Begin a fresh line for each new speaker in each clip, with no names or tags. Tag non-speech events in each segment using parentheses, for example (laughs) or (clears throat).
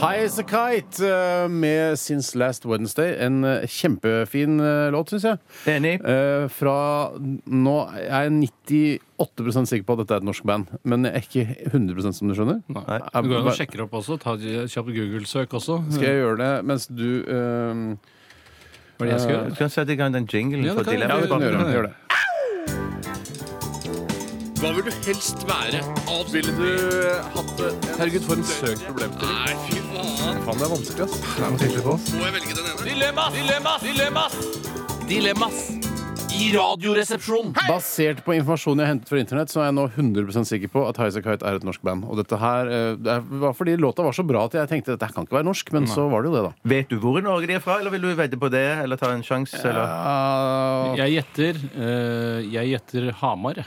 High as a kite eh, med Since Last Wednesday. En eh, kjempefin eh, låt, syns jeg.
Enig.
Eh, Fra Nå er jeg 98 sikker på at dette er et norsk band, men jeg er ikke 100 som du skjønner.
Nei.
Jeg-
Du går an og
bare-
sjekker opp også. Ta et kjapt Google-søk også.
Skal jeg gjøre det mens du eh,
Hva er det jeg skal gjøre?
Du kan sette i gang den jinglen
Ja, det
for
kan jeg.
Dilemmas.
Ja, det kan du
det
gjøre.
kan jeg.
Gjør det.
Hva vil du helst være? Ville du eh, hatt det? Herregud, for en søk problemstilling. Nei, fy faen.
Faen, det er vanskelig, ass.
Må jeg velge den ene? Dilemmas! Dilemmas! Dilemmas! Dilemmas! I radioresepsjonen.
Basert på informasjon jeg har hentet fra internett, så er jeg nå 100 sikker på at High as a kite er et norsk band. Og dette her eh, det er- var fordi låta var så bra at jeg tenkte at dette kan ikke være norsk, men så var det jo det, da.
Vet du hvor i Norge de er fra, eller vil du vedde på det? Eller ta en sjanse? Eller?
Ja,
Jeg gjetter, eh, jeg gjetter Hamar. jeg.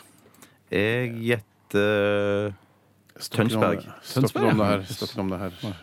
Jeg gjetter
stopp ikke om det.
Tønsberg.
Stopp ikke om det her.
Tønsberg, ja.
Stopp ikke om det her.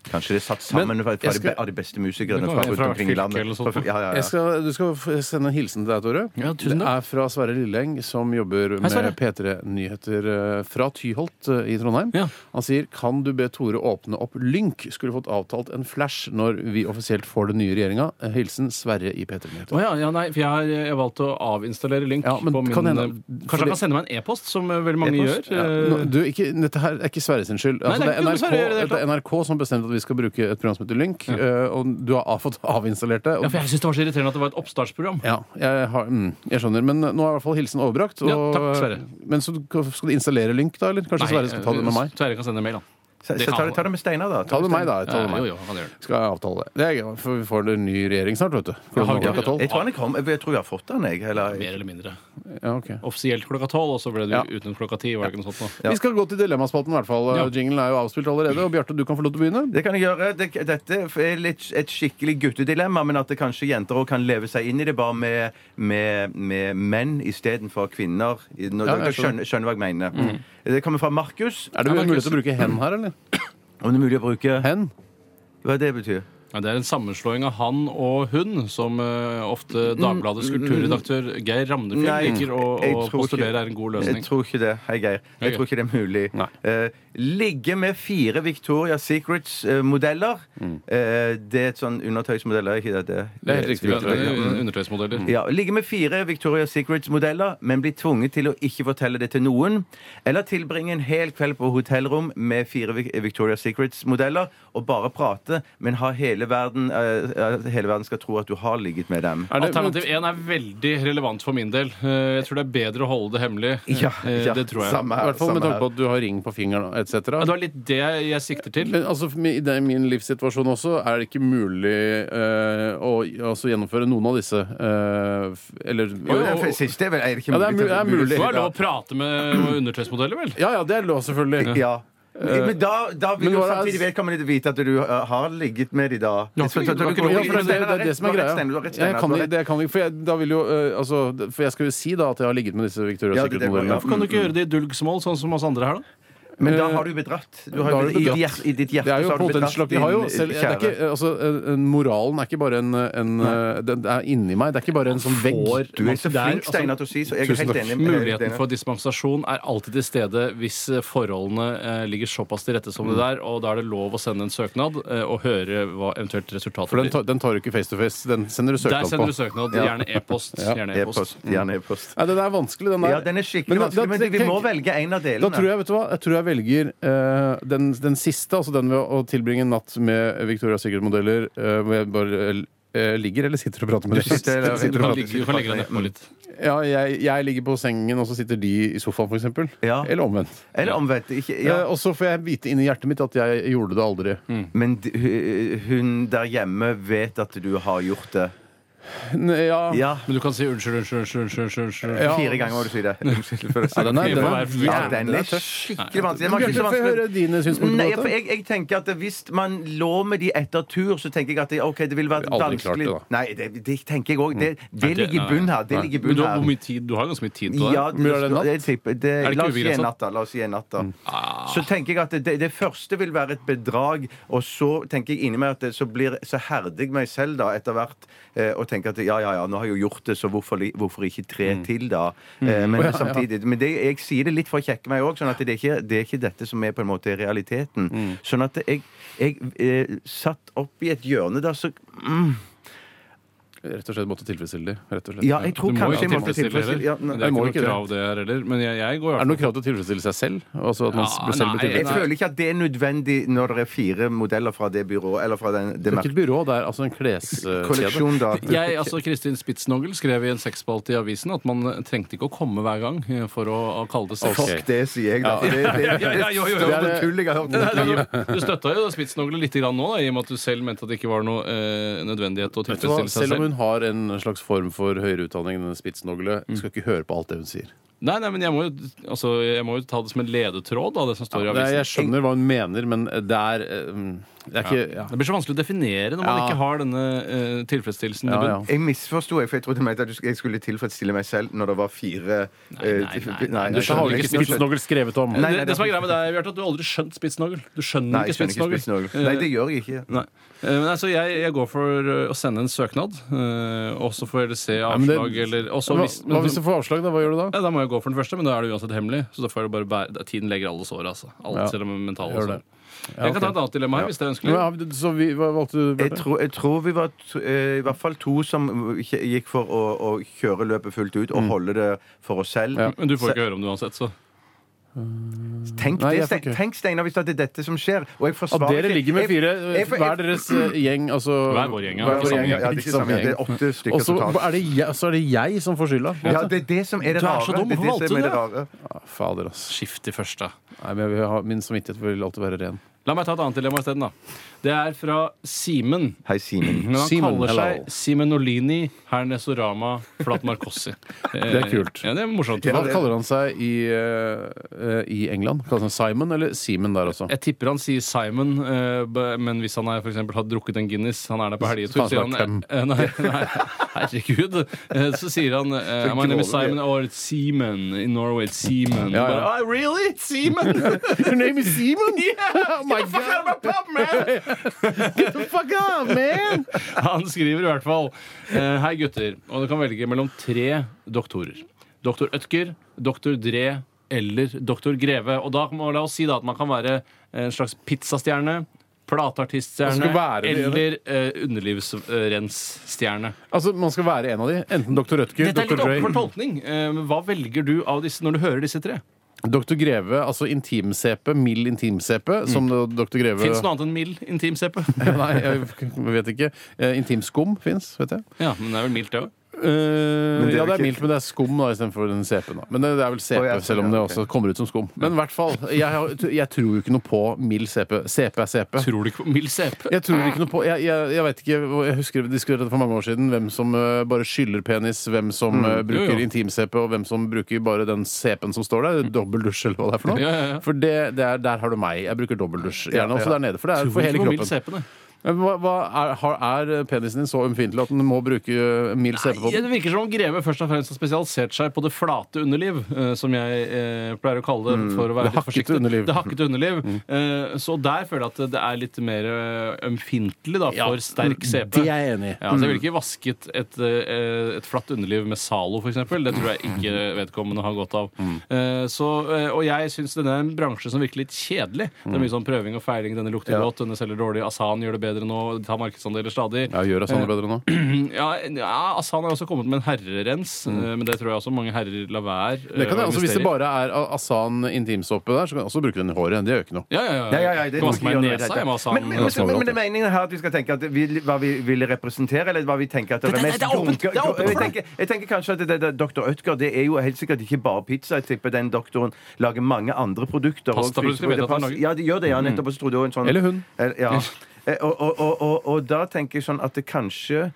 Kanskje de er satt sammen
Men
fra, fra
jeg skal-
de, be- av de beste musikerne
Det kan
fra
være
rundt
fra
omkring i
fylket
landet.
eller sånt.
Fra- Ja, ja, ja.
Jeg skal, du skal f- sende en hilsen til deg, Tore.
Ja, tusen
det er fra Sverre Lilleng, som jobber
Sverre.
med P3 Nyheter eh, fra Tyholt eh, i Trondheim.
Ja.
Han sier kan du be Tore åpne opp Lynk? Skulle fått avtalt en flash når vi offisielt får den nye regjeringa. Eh, Hilsen Sverre i P3
Å
Nyheter.
ja, ja, nei, for jeg har jeg har valgt å avinstallere Lynk.
Ja, men
på min,
kan hende-
eh, kanskje han
fordi-
kan sende meg en e-post, som eh, veldig mange
E-post?
gjør.
Ja,
eh,
nå- du, ikke, dette her er ikke Sverre sin skyld.
Nei,
Altså,
det
det,
er
er
ikke noe Sverre gjør
NRK,
i det hele
det er NRK som bestemte at vi skal bruke et program som heter Lynk. eh, Og du har av- (laughs) fått avinstallert det. og-
Ja, for jeg syns det var så irriterende at det var et oppstartsprogram.
Ja, jeg, har, mm, jeg skjønner. Men nå er i hvert fall hilsen overbrakt.
Ja, takk, Sverre. eh,
Men så du- Skal du installere Lynk, da? eller? Kanskje Sverre skal ta det med meg?
Sverre kan sende en mail, da.
Så,
det
så ta,
kan-
det- ta det med Steinar, da.
Ta det med meg, da. Ta det med
Eh,
meg.
jo, jo, han gjør det.
Skal jeg avtale det. Det er gøy, for Vi får en ny regjering snart, vet du.
har vi ikke-
klokka tolv.
Jeg tror han er kom, jeg tror jeg har fått han, jeg. Eller,
Mer eller mindre.
Ja, ok.
Offisielt klokka tolv, og så ble det
Ja.
uten klokka ti. Var det ikke noe sånt nå?
Vi skal gå til dilemmaspalten, i hvert fall.
Ja.
Jinglen er jo avspilt allerede. Og Bjarte, du kan få lov til å begynne.
det kan jeg gjøre. Det, dette er litt, et skikkelig guttedilemma, men at det kanskje jenter òg kan leve seg inn i det, bare med, med, med menn istedenfor kvinner. I- Når
Ja,
dere
jeg skjønner. Mm.
skjønner, skjønner hva jeg mener. Det kommer fra Markus.
Er det mulig til å bruke hen her, eller?
Om det er mulig å bruke
Hen?
Hva det betyr
Ja, det er en sammenslåing av han og hun, som eh, ofte Dagbladets kulturredaktør Geir
Mm,
Ramnefjell
Nei,
liker å,
jeg
å
tror ikke-
postulere er en god
Jeg
løsning.
tror ikke det. Hei, Geir.
Hei,
Jeg tror ikke det er mulig.
Nei.
Eh, ligge med fire Victoria Secrets-modeller. det er et sånn undertøysmodeller, er ikke det det?
Mm. Det er helt riktig,
Ja, det
Victoria.
er un- Undertøysmodeller.
Ja, Ligge med fire Victoria Secrets-modeller, men bli tvunget til å ikke fortelle det til noen. Eller tilbringe en hel kveld på hotellrom med fire Vic- Victoria Secrets-modeller og bare prate, men ha hele verden, eh, at hele verden skal tro at du har ligget med dem.
Er det-
Alternativ 1 er veldig relevant for min del. Eh, Jeg tror det er bedre å holde det hemmelig. Eh, Det tror jeg.
Samme
I
her.
hvert fall med
samme
tanke
her.
på at du har ring på fingeren
Ja, Det
etc.
var litt det jeg sikter til.
Men altså, for meg- i den- min livssituasjon også er det ikke mulig eh, å altså, gjennomføre noen av disse. eh, f- eller
Jo, det er- siste er vel er det ikke
Ja, det er
mulig.
mu- det er mulig.
Det er lov å prate med undertøysmodeller, vel?
Mm.
Ja, ja, det er lov, selvfølgelig.
Ja. Men da, da vil
Eh, men
jo
hva er-
samtidig vedkommende vite at du uh, har ligget med de da.
Ja,
Så- så- så-
du kan ikke-
du-
Ja, for det, det, det er det som er
Du har
greia.
rett, Steinar, du har rett, Steinar,
Jeg kan,
du har rett.
det kan vi, for, jeg, da vil jo, eh, altså, det- for jeg skal jo si da at jeg har ligget med disse Victoria
Ja, det- det-
Secret-modellene.
ja.
Kan du ikke gjøre det i dulgsmål, sånn som oss andre her, da?
Men da har du bedratt. Du har,
Da har du
i,
bedratt.
hjert- I ditt hjerte
Det er jo
så
på en måte en slags, de har jo selv, det er ikke, eh, altså, eh, Moralen er ikke bare en, en eh, Den er inni meg. Det er ikke bare en sånn vegg.
Du er så
Det er-
flink, Steinar, til å si så. Jeg er
Tusen
helt
takk.
enig. med-
Muligheten for dispensasjon er alltid til stede hvis eh, forholdene eh, ligger såpass til rette som det der, og da er det lov å sende en søknad eh, og høre hva eventuelt resultatet
For den
blir.
tar, den tar du ikke face to face. Den sender du
Der
søknad på.
sender du søknad. Gjerne e-post. Gjerne
E-post.
e-post.
Gjerne e-post.
Nei, den er vanskelig, den der.
Ja, den er skikkelig
da-
vanskelig, men
da-
vi må velge en av delene.
Da tror jeg vet du hva, jeg tror jeg velger eh, den, den siste, altså den ved å tilbringe en natt med Victoria Sigurd-modeller eh, hvor jeg bare eh, ligger eller sitter og prater med dem. (laughs)
sitter-
Jeg
Du
sitter og
kan
prater.
ligge, du kan legge deg nedpå litt.
Ja, jeg, jeg ligger på sengen, og så sitter de i sofaen, f.eks.
Ja.
Eller omvendt.
Eller omvendt. Ikke,
Eh,
ja.
Og så får jeg vite inni hjertet mitt at jeg gjorde det aldri.
Men d- hu- hun der hjemme vet at du har gjort det.
N- Ja.
Ja.
Men du kan si unnskyld, unnskyld, unnskyld. unnskyld, unnskyld, unnskyld.
Ja.
Fire ganger må du
(laughs)
si det. Unnskyld for å si
Ja, den er,
det.
den
Ja,
er,
den
Ja,
jævlig
den er
tøff.
skikkelig vanskelig. Den var
Bjarte,
ikke så
Få
vanskelig.
høre dine synspunkter
Nei,
eh, på
for
dette.
jeg, jeg tenker at Hvis man lå med de etter tur, så tenker jeg at det, ok, det ville vært
Jeg har aldri klart
vanskelig
det, da. Mm.
Nei, det, det tenker jeg òg. Det, det
Nei, det-
ligger i bunnen her. Det
nei.
ligger i
Men du
bunnen
har, hvor
her.
mye tid, du har ganske mye tid på det.
Ja,
Hvor mye er det natt?
jeg tipper- det-
Er det ikke
La oss si en
ubegrenset? Mm. Ah.
natt, da. La oss si en natt, da. så tenker jeg at det, det første vil være et bedrag, og så tenker jeg inni meg at det, så, blir, så herder jeg meg selv da etter hvert eh, og tenker at ja, ja, ja, nå har jeg jo gjort det, så hvorfor, li- hvorfor ikke tre
Mm.
til, da? Eh, men samtidig Men det, jeg sier det litt for å kjekke meg òg, sånn at det er, ikke, det er ikke dette som er på en måte realiteten.
Mm.
Sånn at jeg, jeg eh, satt opp i et hjørne da, så
Rett og slett måtte tilfredsstille de. Rett og slett.
Ja, jeg tror
Du må
kanskje
jo
jeg måtte tilfredsstille
tilfredsstille heller.
ja,
Men
nei,
Det er
må
ikke
ikke
noe krav, det her heller. Men jeg, jeg går
Er det
i hvert
noe krav til å tilfredsstille seg selv? Altså at man
Ja,
blir selv blir
Jeg
nei,
tilfredsstilt?
føler ikke at det er nødvendig når det er fire modeller fra det byrået, eller fra den,
Det
det
er ikke
merket.
et byrå, det er altså en kleskjede.
Kolleksjon,
(laughs)
da.
fall jeg, altså Kristin Spitsnogel skrev i en sexspalte i avisen at man trengte ikke å komme hver gang eh, for å å kalle det
Ok.
sex.
Fuck det, sier jeg, da. for Det, det, det,
Ja, ja, jo, jo, jo.
det er det tull jeg har hørt.
Nei, nei, Du støtta jo Spitsnogel litt grann nå, da, i og med at du selv mente at det ikke var noe eh, nødvendighet å
Vet du hva?
tilfredsstille seg
Selv om
selv.
hun har en slags form for høyere utdanning, denne spitsnogle, skal ikke høre på alt det hun sier.
Nei, nei, men jeg må, jo, altså, jeg må jo ta det som en ledetråd, da, det som står i
Nei, jeg
avisen.
skjønner hva hun mener, men det er eh, mm, Det er ikke ja.
Det blir så vanskelig å definere når man
Ja.
ikke har denne eh, tilfredsstillelsen i
Ja,
bunnen.
ja.
Jeg misforsto, jeg, for jeg trodde du mente at du sk- jeg skulle tilfredsstille meg selv når det var fire eh,
nei, nei, nei, du
Dette har
skjønner
vel ikke
ikke
Spitsnogel skrevet om.
Nei,
Eh, det, det som er greia med deg, Bjarte, at du har aldri skjønt Spitsnogel. Du skjønner
Nei, jeg
ikke
skjønner ikke
Spitsnogel.
spitsnogel. Nei, det gjør jeg ikke.
Nei. Eh, Men altså, jeg, jeg går for eh, å sende en søknad, eh, og så får dere se
men det-
avslag eller og så
hva,
hvis,
hva hvis du får avslag, da? Hva gjør du da?
ja, Da må jeg gå for den første, men da er det uansett hemmelig. Så da får jeg bare bære det- Tiden legger alle sår, altså. Alt
Ja,
selv om mentale
gjør
sår.
det.
Jeg kan ta et annet dilemma her, hvis det er ønskelig.
Men, ja, så vi, hva valgte du?
Jeg
Bjarte?
tror, jeg tror vi var to, eh, i hvert fall to som kje- gikk for å, å kjøre løpet fullt ut
Mm.
og holde det for oss selv.
Men du får ikke høre om det uansett, så.
Tenk,
Nei,
det,
jeg får
Stein-
ikke.
tenk Steinar, hvis det er dette som skjer. Og jeg
At
forsvarer
dere
ikke-
ligger med
jeg-
fire
jeg- jeg-
hver deres eh, gjeng, altså
Hver vår gjeng, ja.
Hver vår
Hver
gjeng, ja, det er ikke samme gjeng. Det er åtte stykker
Og så
totalt.
er, det jeg- så er det jeg som får skylda.
Ja, det er det som er det
Du
rare.
er så dum,
det er
hvorfor
det som er det
valgte
rare.
Fader, altså.
Skift til første.
Nei, men jeg vil ha, min samvittighet vil alltid være ren.
La meg ta et annet dilemma isteden, da. Det er fra Simen.
Hei, Simen.
Men han
Simen,
kaller
hello.
seg Simenolini Hernesorama Flatmarkossi.
(laughs)
Eh,
Det er kult.
Ja, det er morsomt.
Ja,
Hva
det-
kaller han seg i, eh, eh, i England? Kaller han seg Simon eller Simen der også?
Jeg tipper han sier Simon, eh, b- men hvis han er, for eksempel, har drukket en Guinness Han er der på helgetur,
Så
sier
kan han
han eh, Nei, nei, herregud. Eh, Så sier han eh,
Så
My name is
gråler
Simon or it's Seaman in Norway. It's Seaman.
Ja, ja.
Bare, "Ah, really? It's Seaman?
(laughs) (laughs) Your name is (laughs) Simon?
Yeah!
Oh my god! Get the fuck out, man!
(laughs) Han skriver i hvert fall eh, Hei gutter, og du kan velge mellom tre doktorer. Doktor Ødker, doktor Dre eller doktor Greve. Og da må la oss si da at man kan være en slags pizzastjerne.
Man skal
Plateartiststjerne
være det,
eller eh, underlivsrensstjerne.
Altså, Man skal være en av de. Enten Dr. Rødtger,
Dette er
Dr.
litt oppe for
Dre,
tolkning. Eh, men hva velger du av disse når du hører disse tre?
Dr. Greve, altså intim-CP, mild intim-Cp, som Dr. Greve
Fins det noe annet enn mild intim-CP?
(laughs) Nei, jeg vet ikke. Eh, Intimskum fins, vet jeg.
(laughs) Ja, men det er vel mildt, det òg.
Eh,
det er
ja, det
vel
er
ikke-
mildt, men det er skum da istedenfor den CP-en. da. Men det, det er vel CP,
Å, ja,
selv om det
ja, ok.
også kommer ut som skum. Men i hvert fall, jeg, har- jeg tror jo ikke noe på mild CP. CP er CP.
Tror du ikke på mild CP?
Jeg tror ikke noe på Jeg, jeg, jeg vet ikke, hvor- jeg husker vi diskuterte det for mange år siden. Hvem som øh, bare skyller penis, hvem som øh,
Mm. Jo,
bruker
jo.
intim-CP, og hvem som bruker bare den CP-en som står der. Dobbeldusj eller hva det er for noe.
Ja, ja, ja.
For det, det er, der har du meg. Jeg bruker dobbeldusj. Gjerne også der nede, for det er for
Tror
hele
ikke på mild
kroppen.
CP, nei.
Men Hva, hva er, har- er eh, penisen din så ømfintlig at den må bruke øh, mild CP på
Ja,
den?
det virker som om Greve først og fremst har spesialisert seg på det flate underliv, eh, som jeg eh, pleier å kalle det. for å
Mm, Det
være litt
hakkete
forsiktig.
underliv. Mm.
Det hakkete underliv. Eh, så der føler jeg at det er litt mer eh, ømfintlig da, for sterk CP.
Mm, Det er Mm. jeg enig i.
Ja, så jeg Mm. ville ikke vasket et, eh, et flatt underliv med Zalo, f.eks. Det tror jeg ikke
Mm.
vedkommende har godt av. Eh, Så, eh, og jeg syns denne er en bransje som virker litt kjedelig. Det er mye sånn prøving og feiling. Denne lukter
Mm. Ja.
godt, denne selger dårlig. Asan gjør det bedre nå. De tar markedsandeler stadig.
Ja, gjør jeg sånn bedre nå?
Ja, ja, Asan har også kommet med en
Mm.
herrerens, eh, men det tror jeg også mange herrer lar være. eh,
Det kan
å
jeg også, Hvis det
investere i.
bare er Asan intimsåpe der, så kan jeg også bruke den i håret. Det gjør ikke noe.
ja, ja, ja.
Ja, ja, ja, det
Kan vaske meg i
gjør det,
nesa
det-
jeg med Asan.
Men, men,
Ja,
men,
det
men, det er meningen her at vi skal tenke at vi, hva vi vil representere, eller hva vi tenker at det
Det-
er
det-
mest
det er åpent,
dunke-
det er åpent for
jeg, tenker, jeg tenker kanskje at det, det, Dr. Ødger det er jo helt sikkert ikke bare pizza. Jeg tipper den doktoren lager mange andre produkter. og fryseprodukter.
Pastaprodukter vet jeg at han lager.
Ja, det gjør det,
Mm.
ja, nettopp. Og så trodde jeg også en sånn
Eller hun.
Eh, Ja. Eh, Og, og, og, og, og da tenker jeg sånn at det kanskje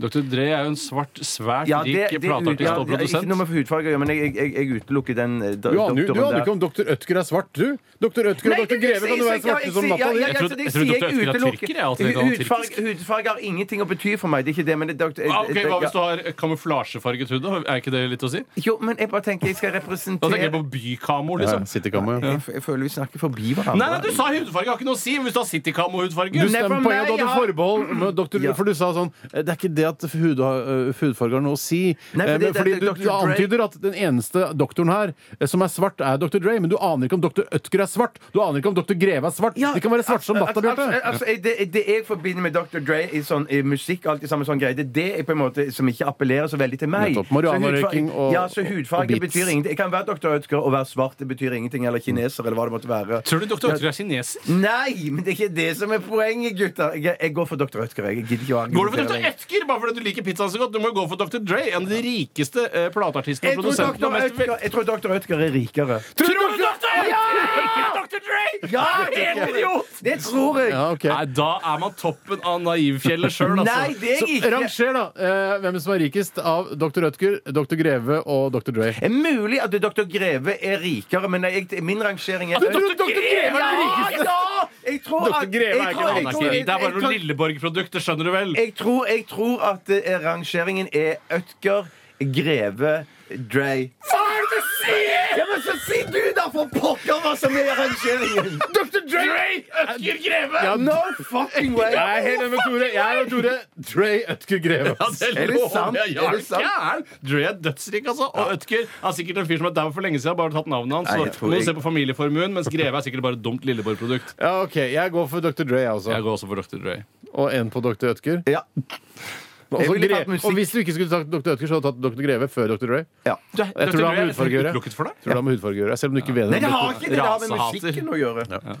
Dr. Dre er jo en svart, svært
Ja,
rik
det- det-
plateartist
ja,
og
det er
produsent.
Ikke noe med hudfarge å gjøre, men jeg, jeg, jeg, jeg utelukker den eh, do-
Du aner jo du
doktoren
aner
der.
ikke om doktor Ødker er svart, du! Doktor Ødker og
Nei,
doktor
det-
Greve
jeg-
kan jo være
jeg- jeg-
svarte som
jeg-
natta,
ja,
de.
ja,
Jeg
så
trodde-
det
jeg trodde
sier
doktor Øystein var
utelukker.
tyrker, jeg, at det kan være
Hudfarge,
tyrkisk.
hudfarge har ingenting å bety for meg. Det er ikke det, men det, doktor,
Ah, ok, Hva hvis du
ja.
har kamuflasjefarget hud? da? Er ikke det litt å si?
Jo, men jeg bare tenker jeg skal
Da tenker jeg
representere
på bykamo,
Ja,
liksom.
Citykammo, ja.
jeg, f- jeg føler vi snakker forbi hverandre.
Nei, nei, du sa hudfarge har ikke noe å si! men Hvis du har Citycamo og hudfarge
Du
Nei,
stemmer
for
poenget,
meg,
du hadde
ja.
forbehold, men doktor,
Ja.
for du sa sånn Det er ikke det at hud, øh, hudfarge har noe å si.
Nei, for
Eh, men
det- det-
fordi
det-
du,
Dr.
du antyder at den eneste doktoren her eh, som er svart, er dr. Dre, men du aner ikke om dr. Ødker er svart. Du aner ikke om dr. Greve er svart.
Ja,
De kan være svarte som natta,
altså, altså,
Bjarte.
altså, det, det jeg forbinder med Dr. Dre i, sånn, i musikk, alt i samme sånn greie, det er det jeg på en måte som ikke appellerer så veldig til meg.
Nettopp. Marihuana-røyking
Så hudfarge-
og-
Ja, så
og
hudfarge
beats.
betyr ingenting. Jeg kan være Dr. Ødker og være svart, det betyr ingenting. Eller kineser, eller hva det måtte være.
Tror du doktor Ødker er kineser?
Nei, men det er ikke det som er poenget, gutter. Jeg, jeg går for Dr. Ødker. Jeg gidder ikke å
Går du for Dr.
lenger.
Edker bare fordi du liker pizzaen så godt? Du må jo gå for Dr. Dre, en av de rikeste eh, plateartistene
Jeg
og
tror
produsentene. og
Dr.
mest vel-
Ødker- Jeg tror Dr. Ødker er rikere.
Tror du Dr. Edker? Dr. Dre!
Ja,
Helt idiot!
Det tror jeg.
Ja, ok.
Nei, da er man toppen av naivfjellet sjøl,
Nei,
altså.
det er
Så
jeg ikke.
ranger, da, eh, hvem som er rikest av dr. Ødker, dr. Greve og dr. Dre.
Det er mulig at Dr. Greve er rikere, men jeg, min rangering er
Du tror dr. Greve er den rikeste!
Ja! Jeg tror at-
Dr. Greve er ikke
jeg tror-
en
jeg
Han er
tror-
ikke rik. Det er
jeg
bare
tror-
noen Lilleborg-produkt, det skjønner du vel?
Jeg tror, jeg tror at eh, rangeringen er Ødker, Greve, Dre Hva er det du sier?! Ja, men Så si du, da, for pokker, hva som er rangeringen! Dr. Dre!
Ødker Greve!
Ja,
No fucking way!
Jeg er helt enig med Tore. Jeg og Tore Dre Ødker Greve.
Ja, det
Er det
lover
sant?
jeg. Ja,
Er det sant?
gæren. Dre er dødsrik, altså. Og Ødker er sikkert en fyr som er dau for lenge siden. Bare tatt navnet hans.
Nei,
Så
jeg tror
må
jeg-
du se på familieformuen, mens Greve er sikkert bare et dumt Lilleborg-produkt.
Ja, ok, Jeg går for dr. Dre, jeg også.
Jeg går også for Dr. Dre.
Og en på dr. Ødker.
Ja.
Og, så
ville
Gre
tatt musikk.
og hvis du ikke skulle tatt dr. Ødker, så hadde du tatt dr. Greve før dr. Dre.
ja.
Jeg tror det har med hudfarge å gjøre.
Utelukket for deg?
Tror det har med hudfarge å gjøre. Selv om du ikke vet
Nei,
det.
det har ikke det, det har med
Rasehater.
musikken å gjøre.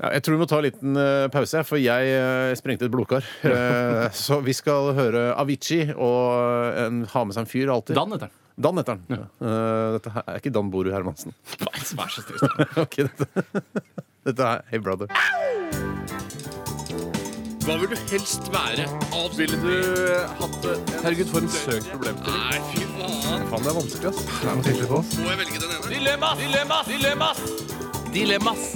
Ja, jeg tror vi må ta en liten eh, pause, for jeg eh, sprengte et blodkar. Eh, så vi skal høre Avicii og eh, en, ha med seg en fyr alltid.
Dan heter han.
Dan heter han. Eh, dette her er ikke Dan Boru Hermansen. (laughs)
Nei, vær så snill. Stein.
ok, dette, (laughs) dette er Hey Brother.
Hva vil du helst være? Ville du hatt det? Herregud, for en søk problemstilling. Nei, fy faen.
Faen, det er vanskelig, ass.
Må jeg velge den ene? Dilemmas! Dilemmas! Dilemmas! Dilemmas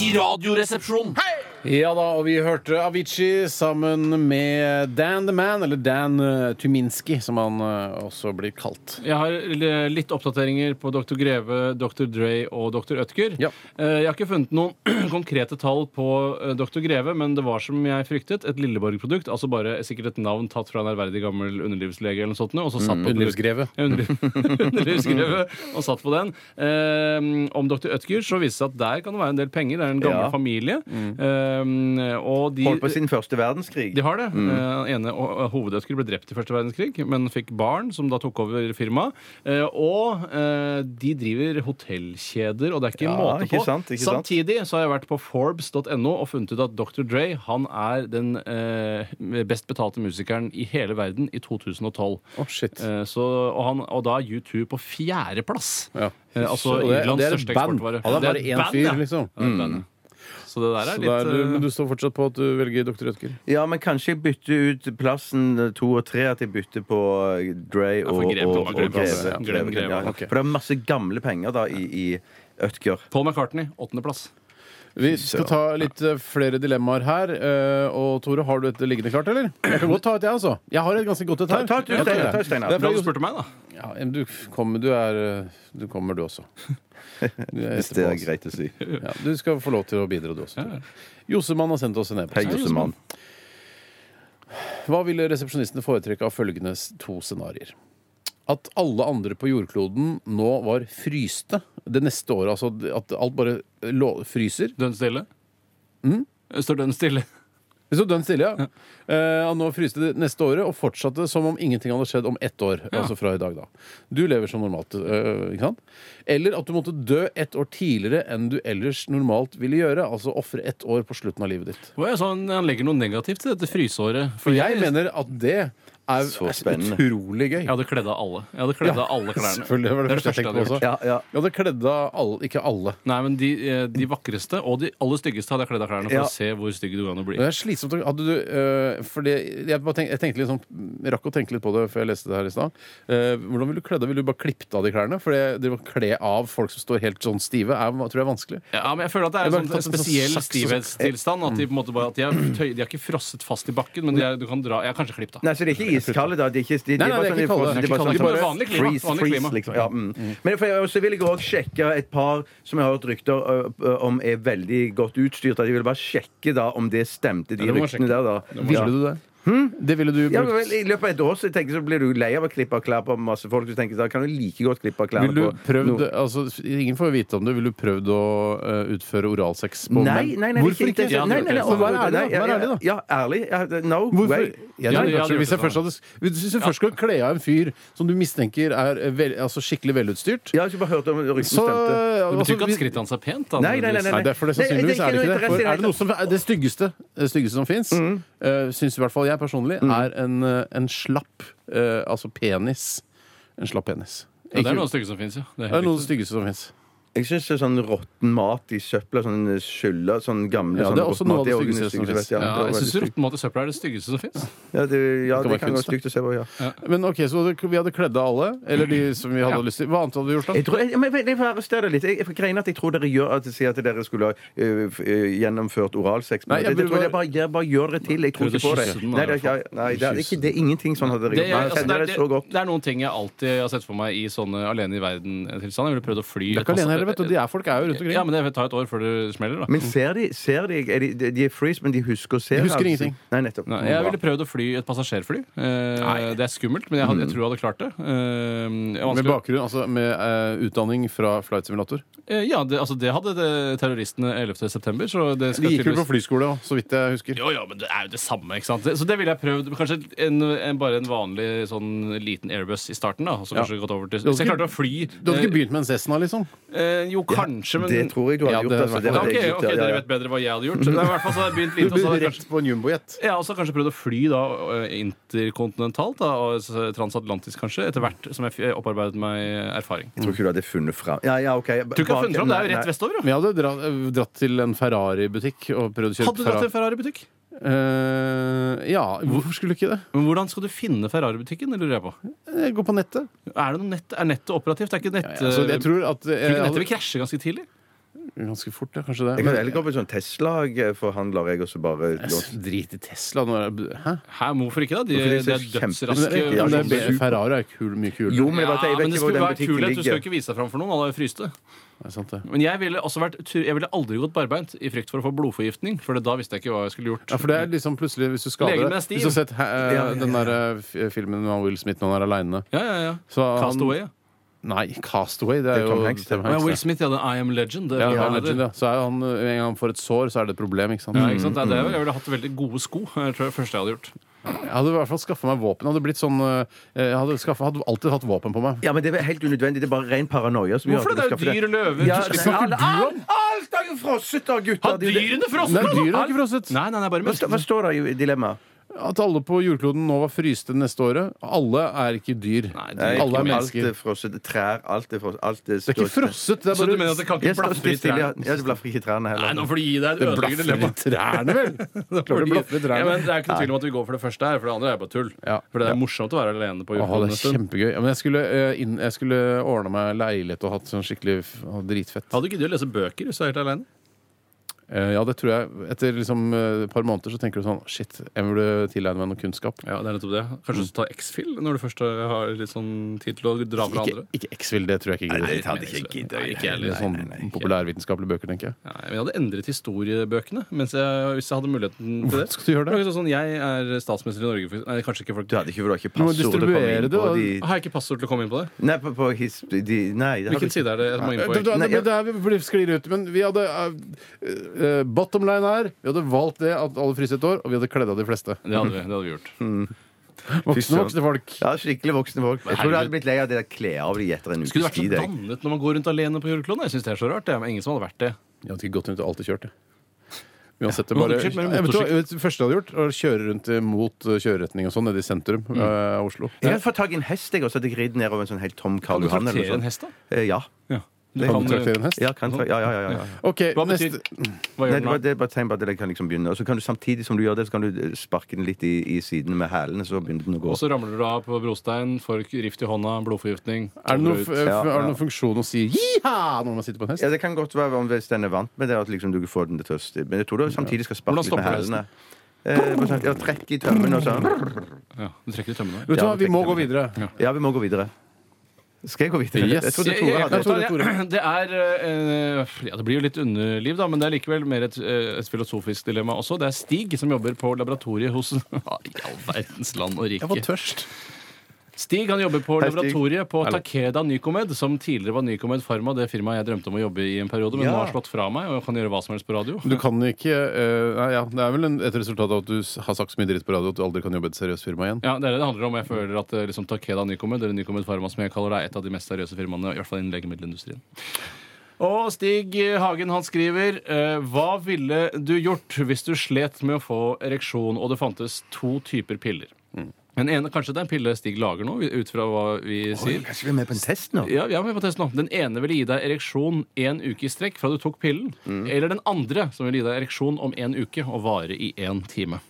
i Radioresepsjonen.
Ja da, og vi hørte Avicii sammen med Dan The Man, eller Dan eh, Tuminski, som han eh, også blir kalt.
Jeg har l- litt oppdateringer på Dr. Greve, Dr. Dre og Dr. Ødker.
Ja.
Eh, Jeg har ikke funnet noen (clears throat) konkrete tall på eh, Dr. Greve, men det var som jeg fryktet, et Lilleborg-produkt. Altså bare sikkert et navn tatt fra en ærverdig gammel underlivslege eller noe sånt. nå, Og så
Mm,
satt på et
Underlivsgreve.
Ja, (laughs) Underliv, underlivsgreve og satt på den. Eh, om Dr. Ødker så viste det seg at der kan det være en del penger. Det er en gammel
Ja. Mm.
familie. Eh, og de,
Holdt på sin første verdenskrig.
de har det. Mm. ene ho- hovedødsker ble drept i første verdenskrig, men fikk barn, som da tok over firmaet. Eh, og eh, de driver hotellkjeder, og det er ikke
Ja,
måte på.
ikke sant, ikke sant.
Samtidig så har jeg vært på Forbes.no og funnet ut at Dr. Dre han er den eh, best betalte musikeren i hele verden i 2012.
Å, shit.
Eh, Så, og, han, og da er U2 på fjerdeplass.
Ja.
Eh, altså
Og det- og
Irlands
det er et
største
band.
eksportvare.
Ja, det er bare
et
én
band,
fyr,
ja.
liksom.
Ja, det er et band, ja. Så det der
Så
er
det er
litt
du, men
eh,
du står fortsatt på at du velger dr. Ødker?
Ja, men kanskje jeg bytter ut plassen eh, to og tre. At jeg bytter på eh, Dre og,
for
og,
Greve
og,
kan man glemme,
Greve.
altså.
Ja,
Glem
Greve,
Greve,
ja.
ok.
For det er masse gamle penger da i, i Ødker.
Paul McCartney, åttendeplass.
Vi skal ta litt eh, flere dilemmaer her. eh, Og Tore, har du et liggende klart, eller? Jeg kan godt ta et, jeg, altså. Jeg har et ganske godt et her.
ta et,
Jeg
Steinar,
tar
ta
det.
et, Steinar.
Det er
Bra
fra
du
Josef-
spurte meg, da.
Ja, men du kommer, du er eh, Du kommer, du
(laughs)
også. Du er
Hvis
etterpå,
det er
altså.
greit å si.
Ja, du skal få lov til å bidra, du også. Tore. Josemann har sendt oss en
Hei,
e-post.
Jossemann.
Hva ville resepsjonistene foretrekke av følgende s- to scenarioer? At alle andre på jordkloden nå var fryste det neste året. Altså at alt bare lå, fryser.
Dønn stille.
Mm?
Eh, Står dønn stille.
Det sto dønn stille, ja. Eh, og nå fryste det neste året og fortsatte som om ingenting hadde skjedd om ett år. Altså fra i dag, da. Du lever som normalt, eh, ikke sant? Eller at du måtte dø ett år tidligere enn du ellers normalt ville gjøre. Altså ofre ett år på slutten av livet ditt.
Hva er det sånn, han legger noe negativt til dette fryseåret.
For jeg mener at det er,
Så
er
spennende.
utrolig gøy.
Jeg hadde kledd av alle. Jeg hadde kledd av alle klærne.
Selvfølgelig det var det,
Det er det
første jeg tenkte på
første
også.
Ja, ja.
Jeg hadde kledd av alle, ikke alle.
Nei, men de, eh, de vakreste og de aller styggeste hadde jeg kledd av klærne for
Ja.
å se hvor stygg du kan bli.
Det er slitsomt. å- Hadde du, øh, fordi jeg, bare tenk, jeg tenkte litt sånn, jeg rakk å tenke litt på det før jeg leste det her i stad. Eh, hvordan ville du kledd av? Ville du bare klippet av de klærne? For det, det å kle av folk som står helt sånn stive, er, tror jeg er vanskelig.
Ja, men jeg føler at det er
Jeg bare
en sånn
tatt en sånn
spesiell
saks og så-
stivhetstilstand. At de på en måte bare at de er, tøy, de er ikke frosset fast i bakken, men de er, du kan dra Jeg er kanskje klippet av.
Nei, så de er ikke iskalde, da? De er ikke, de, de
Nei, nei,
bare
det er ikke kalde.
sånn- de
Det er
bare
ikke
sånn-
kalde. Det
er vanlig klima,
Freeze,
vanlig
freeze,
klima.
liksom. Ja, mm. Men for jeg, så vil jeg òg sjekke et par som jeg har hørt rykter ø, ø, om er veldig godt utstyrt. At jeg vil bare sjekke da om det stemte, de
Ja, det må man
ryktene
sjekke.
der, da.
Ville du det? Det ville du
Hm? Ja,
brukt.
men vel, I løpet av et år så, tenker, jeg så blir du lei av å klippe av klær på masse folk. Du tenker, da kan du like godt klippe av klær
Vil du
på
prøvd,
noe-
altså, ingen får jo vite om det. Vil du prøvd å eh, utføre oralsex på
Nei, nei, nei,
Hvorfor ikke?
det- Nei, nei, nei,
Så vær ærlig, da.
nei, ja,
Vær ærlig, da.
Ja, ærlig. Ja, no
Hvorfor?
way.
Jeg
Ja,
tror
det- ja,
kanskje,
det
hvis jeg
gjør det
først hadde Hvis du først skulle kle av en fyr som du mistenker er vel, altså skikkelig velutstyrt,
Jeg har ikke bare hørt om ryktene
så
stemte.
Det betyr ikke
altså,
at
vi-
skrittet hans er pent. Da,
Nei, nei, nei, nei.
Nei, det er for det sannsynligvis
Nei,
er det
det er
ikke
ikke
det.
noe
For er det
interesse i
noe som er det styggeste, det styggeste som fins, mm. syns i hvert fall jeg personlig, er en, eh, en slapp eh, Altså penis. En slapp penis.
Ja, det er noe
Ikke-
av det styggeste som fins, ja. Det er
det er
helt
noe av det
riktig.
styggeste som fins.
Jeg syns sånn råtten mat i søpla, sånn skylda, sånn gamle
Ja, det er også noe av det styggeste
styggeste
som
styggeste,
finnes.
ja,
ja,
det var
jeg
veldig
syns
stygt.
rotten mat i søpla er det styggeste som fins.
Ja, det, ja,
Det kan
det
være
kan være
kunst, da.
stygt å se på, ja.
Men ok, så hadde- vi hadde kledd av alle? Eller
Mm.
de som vi hadde lyst til? Hva annet hadde vi gjort da?
Jeg tror, jeg, men, jeg får arrestere deg litt. Jeg, jeg greiner at jeg tror dere gjør at, sier at dere skulle ha øh, f- øh, gjennomført oralsex.
Nei, jeg
Men det, det,
burde
tror jeg bare, jeg bare gjør dere til. Jeg tror
Prøvde
ikke på
å
det.
kysse den, da,
Nei, det er, ikke- nei, det er, ikke, det er ingenting sånn hadde dere gjort.
Det,
Jeg
er- altså, det,
kjenner det så
er, det,
godt.
det er noen ting jeg alltid har sett for meg i sånne alene i verden-tilstand. Jeg ville prøvd å fly.
Det er ikke alene heller, vet du. De er folk er jo rundt omkring.
Ja, men det tar et år før det smeller, da.
Men ser de, ser de, er de De er freeze, men de husker å se.
De husker
altså.
ingenting.
Nei, nettopp.
Nei, jeg ville prøvd å fly et passasjerfly. Eh, det er skummelt, men jeg, hadde, jeg tror jeg hadde klart det. Eh, det er
Med
vanskelig å-
bakgrunn, altså med eh, utdanning fra flight simulator.
Eh, ja, det, altså, det hadde det, terroristene 11. september. Så det skal
De gikk vel på
tydeligvis-
flyskole òg, så vidt jeg husker.
Jo, jo, men det er jo det samme. ikke sant? Det- Så det ville jeg prøvd. Kanskje en, en, bare en vanlig sånn liten airbus i starten. da, og så kanskje gått over til... Hvis jeg
ikke-
klarte å fly
Du hadde ikke
eh,
begynt med en Cessna, liksom?
eh, Jo, kanskje, men
Det tror jeg
Ja, det hadde
du hadde gjort.
vært-
altså. Det
Ja,
hadde
ok,
jeg gjort,
ok,
ja, ja, ja.
Dere vet bedre hva jeg hadde gjort. Men i hvert fall så hadde jeg
Du
begynt litt, og så
begynte
hadde jeg kanskje,
rett på en jumbojet.
jeg har også kanskje prøvd å fly da, eh, interkontinentalt, da, og s- transatlantisk kanskje, etter hvert som jeg f- opparbeidet meg erfaring.
Jeg tror ikke du hadde funnet fram Ja, ja, ok.
Du kan funnet fram, det er jo
Nei, nei.
rett vestover, da.
Men jeg hadde dra, dratt til en Ferrari-butikk og prøvd å kjøre
Hadde du dratt til en Ferrari-butikk?
Eh, ja, hvorfor skulle du ikke det?
Men hvordan skal du finne Ferrari-butikken, det lurer jeg på.
Eh, Gå på nettet.
Er, det noe nett, er nettet operativt? Er ikke nett...
Altså, jeg tror at eh,
Tror altså- du ikke
hadde-
nettet vil krasje ganske tidlig?
Ganske fort, ja. Kanskje det.
Jeg kan
Men,
heller gå på en sånn Tesla-forhandler, jeg, og så bare
ass, drit i Tesla. Nå er det, hæ?
Hæ, men hvorfor ikke da? De,
Hvorfor de
de
ser
er dødsraske.
kjempe-
Men det er,
Ja,
be- Ferrari er kul, mye kulere.
Jo, men jeg, vet,
ja,
jeg vet ikke
men det
hvor
skulle
den
være
butikken
kulhet. Du
ligger.
skal jo ikke vise deg fram for noen. Alle er jo fryste.
Det er sant, det.
Men jeg ville, også vært, tu- jeg ville aldri gått barbeint i frykt for å få blodforgiftning. For da visste jeg ikke hva jeg skulle gjort.
Ja, for det er liksom plutselig Hvis du skader
Legen
deg
er stiv.
Hvis du har sett eh,
Ja, ja, ja.
den der eh, f- filmen med Will Smith når han er aleine
Ja, ja, ja. Cast away. Ja.
Nei, Castaway. Det er,
er
jo
Tom Hanks, det.
Ja, Will Smith hadde I Am Legend. Det,
Ja,
ja,
han er
det.
legend, ja. Så er jo han, eh, en gang han får et sår, så er det et problem. ikke sant?
Ja, ikke sant? Det er det. Jeg ville hatt veldig gode sko. Jeg tror det første jeg hadde gjort.
Jeg hadde i hvert fall skaffa meg våpen. Jeg hadde blitt sånn, eh, jeg hadde, skaffet, hadde alltid hatt våpen på meg.
Ja, men det er helt unødvendig. Det er bare ren paranoia. Som
Hvorfor det? Det er jo dyr og løver.
Ja,
Du
nei,
slipper
alle-
ikke
alt, alt er jo frosset, da, gutter!
Har
Det er jo det-
dyrene
Nei,
frosne?
dyret har ikke frosset.
Nei, nei, nei, bare
Hva sta-
menneskene.
Hva står det i dilemmaet?
At alle på jordkloden nå var fryste neste året. Alle er ikke dyr.
Nei, dyr er ikke
Alle er
alt
mennesker.
er frosset. Trær, alt er frosset. Alt er
Det er ikke frosset. Det
Så du
er
mener at
bare
det kan
Jeg
ikke
står
blaffe i
stille. Ja,
trærne?
det blaffer ikke i trærne
Nei, nå
heller.
får du gi deg et ødeleggende
blaffer i
dilemma.
trærne,
(laughs)
vel? Klart det blaffer i
Ja,
trærne.
men det er ikke noe tvil om at vi går for det første her, for det andre er bare tull.
Ja.
For det er morsomt å være alene på
Åh,
jordkloden
det
en
er
stund.
kjempegøy. Ja, men jeg skulle, eh, inn, jeg skulle ordna meg leilighet og hatt sånn skikkelig f- og dritfett.
Hadde du giddet å lese bøker hvis du er helt alene?
Eh, ja, det tror jeg. Etter liksom, eh, et par måneder så tenker du sånn Shit, jeg burde tilegne meg noe kunnskap.
Ja, det er nettopp det. Mm. Kanskje du tar X-Fill når du først har litt sånn tid til å dra fra
Ikke,
andre?
ikke X-Vil, det tror jeg ikke gidder.
hadde ikke jeg giddet.
Nei, altså, ikke jeg
Eller
heller.
sånn populærvitenskapelige bøker, tenker jeg.
Nei, men jeg hadde endret historiebøkene mens jeg, hvis jeg hadde muligheten til det.
Hvorfor skal du gjøre det?
Det var ikke Sånn, jeg er statsminister i Norge for, Nei, kanskje ikke folk
Du hadde ikke, for du har ikke
må
passord til å komme
distribuere
inn
det,
på
da.
de
Har jeg ikke passord til å komme inn på det?
Nei, på, på his... De, nei, det har du
Hvilken
ikke.
side er det jeg må inn på?
Det, det, det,
egentlig?
Nei, ja.
det her vi blir- sklir ut, men vi hadde eh, eh, Bottom line her Vi hadde valgt det at alle fryser et år, og vi hadde kledd av de fleste.
Det hadde vi, det hadde vi gjort.
Voksne voksne folk.
Ja, skikkelig voksne folk. Jeg tror du hadde blitt lei av det der kle av de etter en
Skulle
ukes
du vært så
tid. jeg.
dannet når man går rundt alene på jordkloden? Jeg synes det er så rart. Det er ingen som hadde vært det.
Jeg hadde ikke gått rundt og alltid kjørt, jeg. Uansett, det bare,
Ja, motorsykkel, men
jeg vet, hva,
motorsykkel.
det første jeg hadde gjort, var å kjøre rundt eh, mot eh, kjøreretning og sånn, nede i sentrum eh, av Oslo.
Jeg har fått tak i en hest jeg, og så hadde jeg ridd nedover en sånn helt tom Karl
Kan du
Johan. eller noe
traktere en
sånt.
hest, da?
Eh, Ja.
Ja.
Kan du traktere en hest?
Ja, kan, tra- ja, ja, ja, ja, ja.
OK,
Hva betyr
neste
Nei, det,
Hva gjør den
var,
da?
det er bare et tegn på at den kan liksom begynne. Og så kan du samtidig som du gjør det, så kan du eh, sparke den litt i, i siden med hælene, så begynner den å gå.
Og så ramler du av på brostein, får rift i hånda, blodforgiftning
er det, noen,
kommer
f-
ut.
eh,
Ja,
f- er det
ja.
noen funksjon å si jiha når man sitter på en hest?
Ja, Det kan godt være om hvis den er vant med det, at liksom du ikke får den til å st- Men jeg tror du samtidig skal sparke
Hvordan
litt med
stopper
hælene.
hesten?
Eh, bare sånn, ja, trekk i tømmen og sånn.
Ja, du trekker i tømmene.
Vet du
Ja,
hva, vi må
tenker
gå videre.
Ja, vi må gå videre. Skal jeg gå videre?
Yes.
Jeg trodde
Jeg-
Tore
jeg-
hadde
jeg tror det er Tore.
Det er eh, Ja, det blir jo litt underliv, da, men det er likevel mer et, eh, et filosofisk dilemma også. Det er Stig som jobber på laboratoriet hos (laughs) Ja, I all verdens land og rike.
Jeg var tørst.
Stig han jobber på
Hei, Stig.
laboratoriet på Takeda Nycomed, som tidligere var Nycomed Pharma, det firmaet jeg drømte om å jobbe i en periode, men
Ja.
nå har slått fra meg, og jeg kan gjøre hva som helst på radio.
Du kan ikke eh, Nei, ja, det er vel en, et resultat av at du s- har sagt så mye dritt på radio at du aldri kan jobbe i et seriøst firma igjen.
Ja, det er det det handler om. Jeg føler at eh, liksom, Takeda Nycomed, eller Nycomed Pharma, som jeg kaller det, er et av de mest seriøse firmaene, i hvert fall innen legemiddelindustrien. Og Stig Hagen han skriver eh, Hva ville du gjort hvis du slet med å få ereksjon, og det fantes to typer piller?
Mm.
Den ene, Kanskje det er en pille Stig lager nå, ut fra hva vi sier.
Kanskje vi er med på en test nå?
Ja, vi er med på test nå. Den ene vil gi deg ereksjon én uke i strekk fra du tok pillen. Eller den andre som vil gi deg ereksjon om én uke og vare i én time.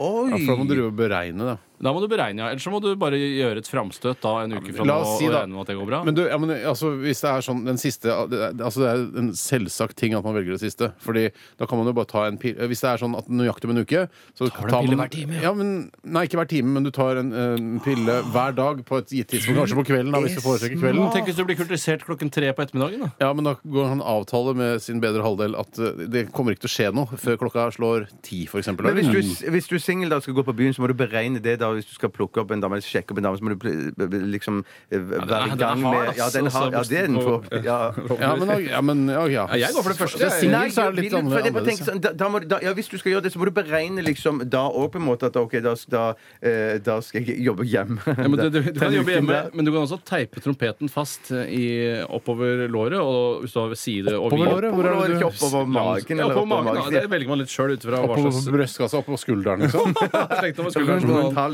Oi!
Ja, for da må du drive og beregne, da.
Da må du beregne, ja. Ellers så må du bare gjøre et framstøt da en uke fra nå
La oss
og
si da-
regne med at det går bra.
Men du, ja, men, altså, hvis det er sånn den siste det er- altså, Det er en selvsagt ting at man velger det siste. Fordi da kan man jo bare ta en pil Hvis det er sånn at nøyaktig om en uke så Tar
du en pille hver time, ja?
Ja. men, nei, ikke hver time, men du tar en, en pille hver dag på et gitt tidspunkt. Kanskje på kvelden, da, hvis du foretrekker kvelden.
Tenk hvis du blir kultisert klokken tre på ettermiddagen, da.
Ja, men da går han avtale med sin bedre halvdel at eh, det kommer ikke til å skje noe før klokka slår ti, for eksempel.
Men hvis du, hvis du er singel da og skal gå på byen, så må du beregne det. da Hvis du skal plukke opp en dame, eller sjekke opp en dame, så må du pl- b- b- liksom eh, være i
den er
gang
hard, altså,
med Ja,
ass,
den
og så
har, ja, det er den
må-
for, ja.
Ja, men, ja, men ja, ja.
Ja, jeg går for det første.
Hvis jeg er
Nei,
singel, så er det litt
vil- for jeg bare
annerledes.
tenker sånn, da, da må, du- da, ja, hvis du skal gjøre det, så må du beregne liksom da òg, på en måte. At ok, da, da, eh, da skal jeg jobbe hjemme.
Ja, men du, du, du kan
Den
jobbe
uken
hjemme,
der.
men du kan også teipe trompeten fast i, oppover låret. Og hvis du har side og
Oppover
vid-
låret?
Hvor er det
du-
ikke oppover magen?
Ja,
eller
på magen, da.
magen?
Det velger man litt sjøl ut fra hva
Oppå
slags
brystkassa, oppå skulderen, liksom.
Slekt om man skulle
Rundt
kanskje
rundt halsen.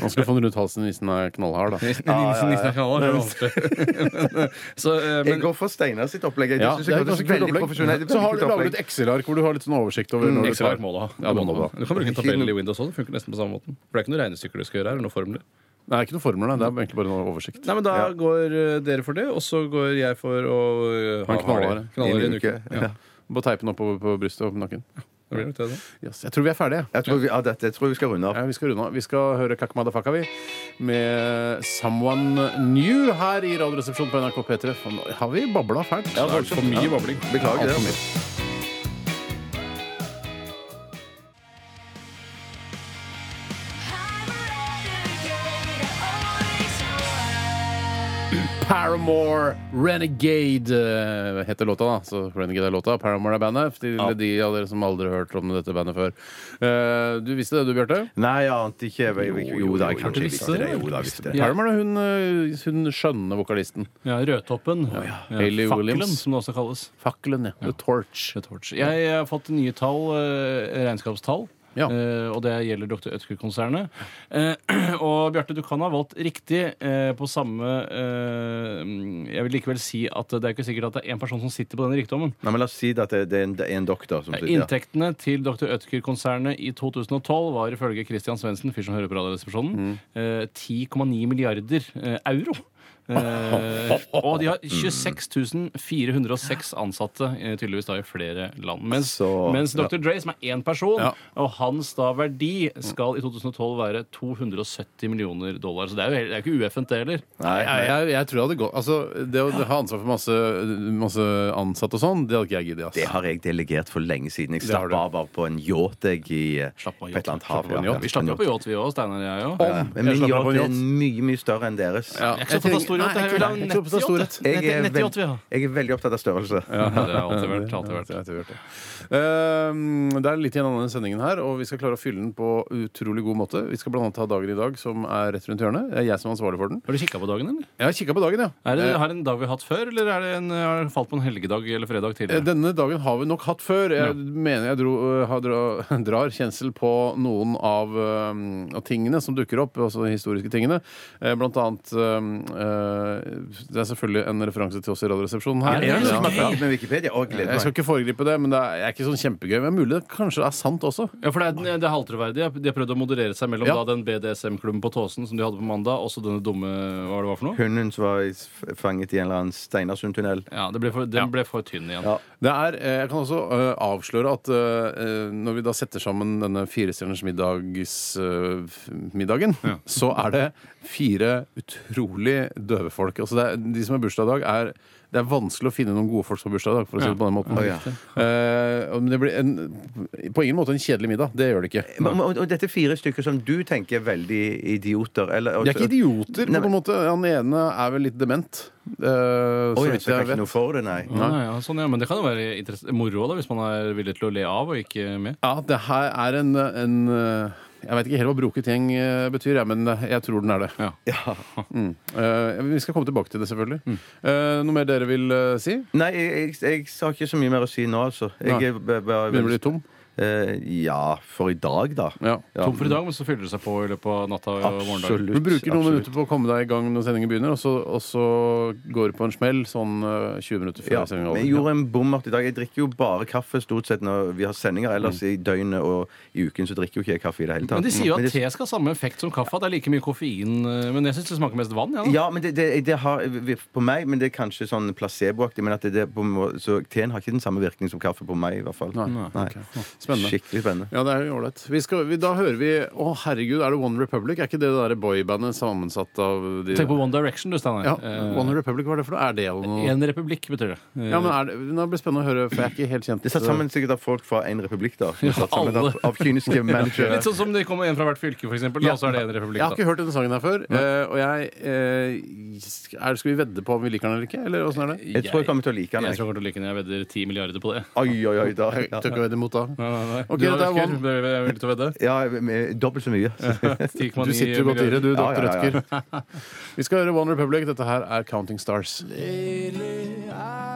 Man skal få den rundt halsen hvis den er knallhard, da.
Nissen Nissen er ikke alle, det er vanskelig. (laughs) Men, eh, så, eh,
Jeg
men,
går for Steinar sitt opplegg. Jeg
Ja,
synes
det er
jeg
et ganske
høres
kult
veldig
opplegg.
profesjonelt ut.
Så har du
Kult opplegg.
laget et Excel-ark hvor du har litt sånn oversikt over når du
Excel
tar-
må du ha.
Ja, det må du ha.
Du kan bruke en tabell i Windows også. Det funker nesten på samme måten. For det er ikke noe regnestykker du skal gjøre her. Noen formler.
Nei, det er ikke noen formler, nei. det er egentlig bare en oversikt.
Nei, men Da går eh, dere for det, og så går jeg for å eh,
Ha en knallhard.
harde- knallhard i en uke. Ja,
Bare teipe den oppover på brystet og på nakken.
det blir nok det, da.
Yes. Jeg tror vi er ferdige.
Jeg tror vi, ja, dette, jeg tror vi skal runde av.
Ja, vi skal runde av. Vi skal høre Kakmadafaka, vi, med Someone New her i Radioresepsjonen på NRK P3. For nå har vi babla fælt.
Ja, voldsomt.
for mye babling.
Beklager det.
Alt for mye. Paramore Renegade eh, heter låta, da. Så Renegade er låta. Paramore er bandet. Til de av dere som aldri har hørt om dette bandet før. Eh, du visste det, du, Bjarte?
Nei, jeg ante ikke. Jeg, jeg, jo, jo da, jeg kanskje
jo,
visste det.
jo,
Jo da, jeg visste det.
Ja.
Paramore er hun, eh, hun skjønne vokalisten.
Ja, Rødtoppen.
Hayley
Fakkelen,
Williams.
som det også kalles.
Fakkelen, ja. The Torch.
The Torch. Jeg har fått nye tall, eh, regnskapstall.
Ja.
Eh, og det gjelder Dr. Ødsker-konsernet. Eh, (clears throat) og Bjarte, du kan ha valgt riktig eh, på samme eh, Jeg vil likevel si at det er ikke sikkert at det er én person som sitter på den rikdommen.
Nei, men La oss si at det, det, er en, det er en doktor som sitter der.
Inntektene til Dr. Ødker-konsernet i 2012 var ifølge Christian Svendsen, fyr som hører på Radioresepsjonen, eh, 10,9 milliarder eh, euro. Eh, og de har 26 406 ansatte eh, tydeligvis da i flere land. Mens,
Så-
mens Dr. Dre, som er én person,
Ja.
og hans da verdi skal i 2012 være 270 millioner dollar. Så det er jo, helt- det er jo ikke ueffent, det heller.
Nei,
Jeg, jeg, jeg tror jeg hadde gått altså, Det å ha ansvar for masse, masse ansatte og sånn, det hadde ikke jeg giddet.
Det
ass.
har jeg delegert for lenge siden. Jeg
Det har
slapp
du.
av bare på en yacht jeg, i eh,
Slapp
på
av,
et eller annet
Slapp av,
hav. ja.
yacht.
Vi slapp jo på yacht, vi òg, Steinar og jeg òg.
Ja, Men
Eh, Jeg
min
slapp av på
yacht
en
er mye, mye større enn deres.
Ja.
Jeg er ikke
Jeg
så opptatt av storyacht.
Nei, ikke-
Jeg vil ha
nei, ikke opptatt av
nettyacht.
Jeg er,
Nett- Nettyacht vil jeg ha.
jeg er veldig opptatt av størrelse.
Ja, det har alltid vært. Alltid
Ja, det
vært.
har alltid vært det. Ehm, det er litt igjen av denne sendingen her, og vi skal klare å fylle den på utrolig god måte. Vi skal bl.a. ha dagen i dag, som er rett rundt hjørnet. Det er jeg som er ansvarlig for den.
Har du kikka på dagen, eller?
Jeg har kikka på dagen, ja. Eh,
Er det her en dag vi har hatt før, eller er det en, har det falt på en helgedag eller fredag
Eh,
tidligere?
Denne dagen har vi nok hatt før. Jeg
Ja.
mener jeg dro, eh, har dra, (laughs) drar kjensel på noen av, eh, av tingene som dukker opp, altså de historiske tingene. Eh, Blant annet ehm, eh, eh, Det er selvfølgelig en referanse til oss i Radioresepsjonen her.
Er det
Er det noen
Ja.
som har pratet med Wikipedia? Å, gleder
Jeg skal
meg.
ikke foregripe det, men det er, er ikke sånn kjempegøy. Men mulig det kanskje er sant også.
Ja, for Det er, det er halvtroverdig. De har prøvd å moderere seg mellom
Ja.
da, den BDSM-klubben på Tåsen som de hadde på mandag, og så denne dumme Hva var det var for noe?
Hunden som var i- fanget i en eller annen Steinarsundtunnel.
Ja, det ble for, Den ble for tynn igjen.
Ja.
Det er, eh, jeg kan også eh, avsløre at eh, eh, når vi da setter sammen denne Firestjerners middags-middagen, (laughs) så er det fire utrolig døve folk. Altså det er, de som har bursdag i dag, er det er vanskelig å finne noen gode folk som har bursdag i dag. for å si det på den måten.
Å, ja.
Eh, og men det blir en, på ingen måte en kjedelig middag. Det gjør det ikke.
Men- men- Og, og dette er fire stykker som du tenker er veldig idioter. Eller,
De er ikke idioter,
Nei,
men på en måte. Han ene er vel litt dement. eh,
Å,
så
ja,
vidt
så det
jeg
er ikke noe
vet.
for det, nei.
Ja, ja, sånn, ja. Men det kan jo være interess- moro da, hvis man er villig til å le av og ikke med.
Ja, det her er en, en eh, Jeg vet ikke helt hva broket gjeng eh, betyr, jeg, men jeg tror den er det.
Ja.
(laughs) Eh, vi skal komme tilbake til det, selvfølgelig.
Mm.
Eh, noe mer dere vil eh, si?
Nei, jeg, jeg, jeg har ikke så mye mer å si nå, altså.
Nei.
Jeg, er b- bare-
Begynner å bli tom?
Eh, ja, for i dag, da.
Ja.
Tom for i dag, men så fyller det seg på i løpet av natta og morgendagen.
Du bruker noen minutter på å komme deg i gang når sendingen begynner, og så, og så går du på en smell sånn eh, 20 minutter før
Ja,
sendingen
men
er
jeg
over.
gjorde en bommert i dag. Jeg drikker jo bare kaffe stort sett når vi har sendinger. Ellers i døgnet og i uken så drikker jo ikke jeg kaffe i det hele tatt.
Mm. Men de sier jo
Men
at
det-
te skal ha samme effekt som kaffe. at Det er like mye koffein. eh, Men jeg syns det smaker mest vann. Ja, da.
Ja, men det, det, det har på meg, men det er kanskje sånn placeboaktig. Men at det, det på, en må- så teen har ikke den samme virkning som kaffe på meg, i hvert fall.
Nei,
Nei.
Spennende.
Skikkelig spennende.
Ja, det er jo ålreit. Vi skal- vi- Da hører vi Å, herregud, er det One Republic? Er ikke det det derre boybandet sammensatt av de
Tenk på One Direction, du, Steinar.
Ja,
Eh,
One Republic, hva er det for noe? Er det noe
en republikk betyr det. Eh,
ja, men er det, Nå blir det spennende å høre, for jeg er ikke helt kjent
Det er satt sammen sikkert av folk fra én republikk, da. som er satt sammen
alle.
av, av
(laughs)
kyniske managere.
Litt sånn som det kommer en fra hvert fylke, for eksempel. Da,
Ja.
så er det en republikk.
Jeg har
Da.
ikke hørt denne sangen her før, eh, og jeg eh, er, Skal vi vedde på om vi liker den eller ikke? Eller åssen er det?
Jeg tror jeg kommer til å like
Jeg
den.
tror jeg
Jeg.
kommer til å like den. Jeg vedder 10 milliarder på det.
Oi, oi, oi, da.
Jeg tør ikke å vedde mot da.
Nei, nei, nei.
Ok,
du
dette er
da, Øsker,
One.
ble- ble- ble- villig til å vedde?
Ja, med dobbelt så mye.
(laughs) 10,9
Du sitter jo godt i det, du,
Ja,
doktor
ja, ja.
(laughs) Rødtger. Vi skal høre One Republic. Dette her er Counting Stars.
Lately, I